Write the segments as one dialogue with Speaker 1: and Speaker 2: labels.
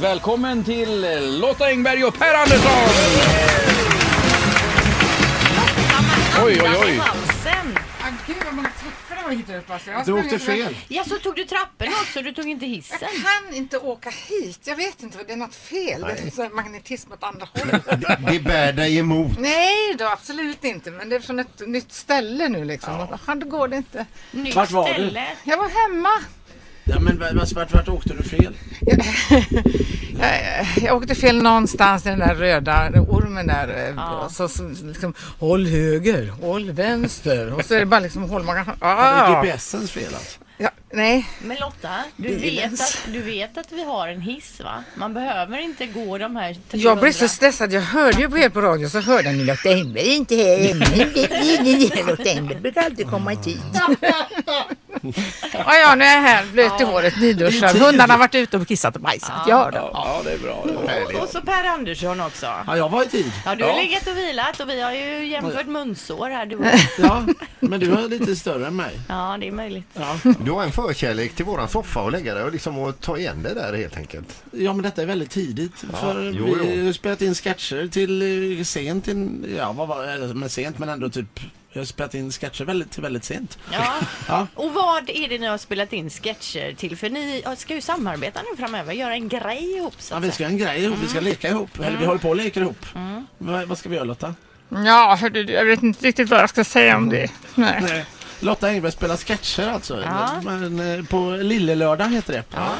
Speaker 1: Välkommen till Lotta Engberg och Per Andersson! Oj, oj, oj.
Speaker 2: Halsen.
Speaker 3: Ah, gud vad många trappor det var hit upp alltså. Jag
Speaker 4: Du
Speaker 3: sprang
Speaker 4: åkte
Speaker 3: ut och bara,
Speaker 4: fel.
Speaker 2: Ja, så tog du trapporna också, du tog inte hissen.
Speaker 3: Jag kan inte åka hit. Jag vet inte, det är något fel. Det är så här magnetism åt andra hållet.
Speaker 4: Det, det bär dig emot.
Speaker 3: Nej då, absolut inte. Men det är från ett nytt ställe nu liksom. Ja. Då går det inte.
Speaker 2: Nytt
Speaker 5: Vart var du?
Speaker 2: ställe.
Speaker 3: Jag var hemma.
Speaker 5: Ja, men v- alltså, vart, vart åkte du fel?
Speaker 3: Jag, jag åkte fel någonstans i den där röda ormen där. eh, Så, så liksom, håll höger, håll vänster. Och så är det bara liksom håll man kan...
Speaker 5: Är
Speaker 3: Ah.
Speaker 5: GPSens fel alltså?
Speaker 3: Ja, nej,
Speaker 2: Men Lotta, du vet, att, du vet att vi har en hiss va? Man behöver inte gå de här 300.
Speaker 3: Jag blev så stressad. Jag hörde ju på er på radio så hörde jag ni Lotta Engberg är inte här. Lotta Engberg brukar alltid komma i tid. ja, ja, nu är jag här blöt i håret, nyduschad. Hundarna har varit ute och kissat och bajsat. Jag hör dem.
Speaker 1: Ja, det är bra. Det är bra.
Speaker 2: Och så Per Andersson också.
Speaker 5: Ja, jag var i tid.
Speaker 2: Ja, du har
Speaker 1: Ja.
Speaker 2: legat och vilat och vi har ju jämfört munsår här du och-
Speaker 5: Ja, men du var lite större än mig.
Speaker 2: Ja, det är möjligt.
Speaker 4: Du har en förkärlek till våran soffa och lägga dig och liksom och ta igen det där helt enkelt.
Speaker 5: Ja, men detta är väldigt tidigt. för
Speaker 4: jo,
Speaker 5: vi
Speaker 4: jo.
Speaker 5: har ju spelat in sketcher till eh, sent, in, ja, vad var det, men sent, men ändå typ jag har spelat in sketcher väldigt, till väldigt sent.
Speaker 2: Ja.
Speaker 5: Ja.
Speaker 2: Och vad är det ni har spelat in sketcher till? För ni ja, ska ju samarbeta nu framöver, göra en grej ihop så
Speaker 5: Ja,
Speaker 2: att
Speaker 5: vi ska göra en grej ihop, vi
Speaker 1: Mm.
Speaker 5: ska leka ihop. Eller vi håller på och leker ihop. Va, vad ska vi göra Lotta?
Speaker 3: Ja, hörde du, jag vet inte riktigt vad jag ska säga om det. Nej.
Speaker 5: Nej. Lotta Engberg spelar sketcher alltså. Men, eh, på Lillelördag heter det. Ja.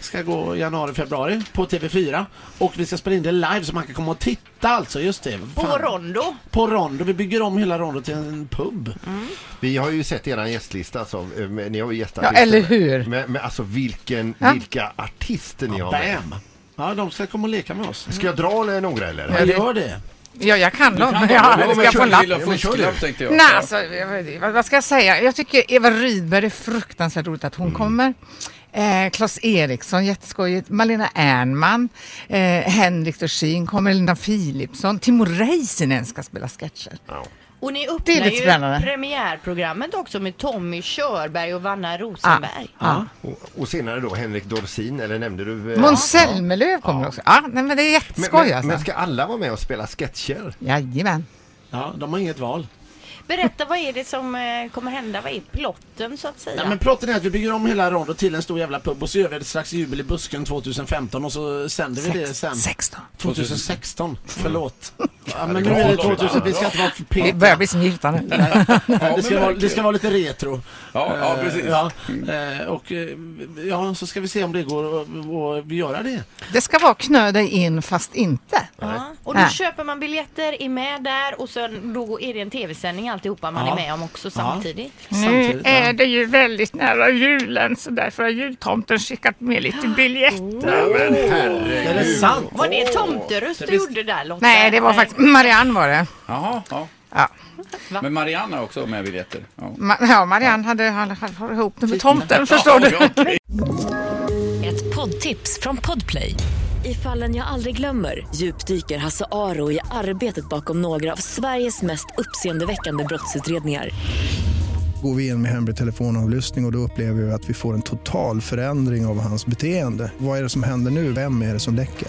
Speaker 5: Ska gå januari, februari på TV4. Och vi ska spela in det live så man kan komma och titta alltså. Just det.
Speaker 2: På
Speaker 5: Fan.
Speaker 2: Rondo.
Speaker 5: På Rondo. Vi bygger om hela Rondo till en pub.
Speaker 1: Mm.
Speaker 4: Vi har ju sett eran gästlista som eh, men ni har ju gästat.
Speaker 3: Ja,
Speaker 4: gäster.
Speaker 3: eller hur?
Speaker 4: Men, men alltså vilken,
Speaker 3: Ja.
Speaker 4: vilka artister ni har med.
Speaker 5: Bam! Ja, de ska komma och leka med oss.
Speaker 1: Mm.
Speaker 4: Ska jag dra eller några eller?
Speaker 5: Ja, gör det.
Speaker 3: Ja, jag kan dem.
Speaker 1: Ja,
Speaker 3: Ja,
Speaker 1: men
Speaker 3: ska jag få
Speaker 1: kör-
Speaker 3: en lapp?
Speaker 1: lilla
Speaker 4: Ja, men kör
Speaker 1: fusklapp,
Speaker 4: du.
Speaker 1: tänkte jag.
Speaker 3: Nej,
Speaker 1: Ja.
Speaker 3: alltså, jag vet- vad, vad ska jag säga? Jag tycker Eva Rydberg är fruktansvärt roligt att hon
Speaker 4: Mm.
Speaker 3: kommer. Eh, Claes Eriksson, jätteskojigt. Malena Ernman, eh, Henrik Dorsin kommer, Linda Philipsson. Timo Räisänen ska spela sketcher.
Speaker 2: Och ni
Speaker 3: Det är
Speaker 2: öppnar
Speaker 3: lite
Speaker 2: ju
Speaker 3: spännande.
Speaker 2: premiärprogrammet också med Tommy Körberg och Vanna Rosenberg.
Speaker 3: Ah.
Speaker 4: Och, och senare då Henrik Dorsin eller nämnde du? eh,
Speaker 3: Måns Zelmerlöw kommer också. Ah, nej, men det är
Speaker 4: Men,
Speaker 3: jätteskoj
Speaker 4: men, men
Speaker 3: alltså.
Speaker 4: ska alla vara med och spela sketcher?
Speaker 3: Jajamän.
Speaker 5: Ja, de har inget val.
Speaker 2: Berätta, vad är det som eh, kommer hända? Vad är plotten så att säga?
Speaker 5: Nej, men plotten är att vi bygger om hela Rondo till en stor jävla pub och så gör vi ett slags jubel i busken 2015 och så sänder vi det sen.
Speaker 3: 16.
Speaker 1: Mm.
Speaker 5: 2016, förlåt. Ja, men nu är det 2000, vi ska inte vara för
Speaker 3: Det
Speaker 5: peta.
Speaker 3: börjar bli som gyltan nu.
Speaker 5: Det ska,
Speaker 1: men
Speaker 5: vara, det
Speaker 1: verkligen.
Speaker 5: ska vara lite retro.
Speaker 1: Ja, ja,
Speaker 5: Eh,
Speaker 1: precis.
Speaker 5: Ja, eh, och eh, ja, så ska vi se om det går att att göra det.
Speaker 3: Det ska vara knö dig in fast inte.
Speaker 2: Ja. Och då
Speaker 3: Nej.
Speaker 2: köper man biljetter, är med där och sen då är det en tv-sändning alltihopa man
Speaker 5: Ja.
Speaker 2: är med om också samtidigt.
Speaker 3: Nu
Speaker 5: Samtidigt,
Speaker 3: är Mm, eh, det ju väldigt nära julen så därför har jultomten skickat med lite biljetter.
Speaker 4: Men
Speaker 5: Är det
Speaker 4: herregud!
Speaker 5: sant?
Speaker 2: Var det tomteröst
Speaker 5: Det
Speaker 2: du
Speaker 5: visst-
Speaker 2: gjorde där Lotta?
Speaker 3: Nej, det var faktiskt Marianne var det.
Speaker 1: Jaha, ja.
Speaker 3: Ja,
Speaker 1: Men Marianne har också med biljetter. Ja.
Speaker 3: Ma- ja Marianne hade hade- hade- hade ihop det med tomten, förstår
Speaker 1: Ja,
Speaker 3: du.
Speaker 1: ja, okej.
Speaker 6: Ett poddtips från Podplay. I fallen jag aldrig glömmer djupdyker Hasse Aro i arbetet bakom några av Sveriges mest uppseendeväckande brottsutredningar.
Speaker 7: går vi in med hemlig telefonavlyssning och, och då upplever vi att vi får en total förändring av hans beteende. Vad är det som händer nu? Vem är det som läcker?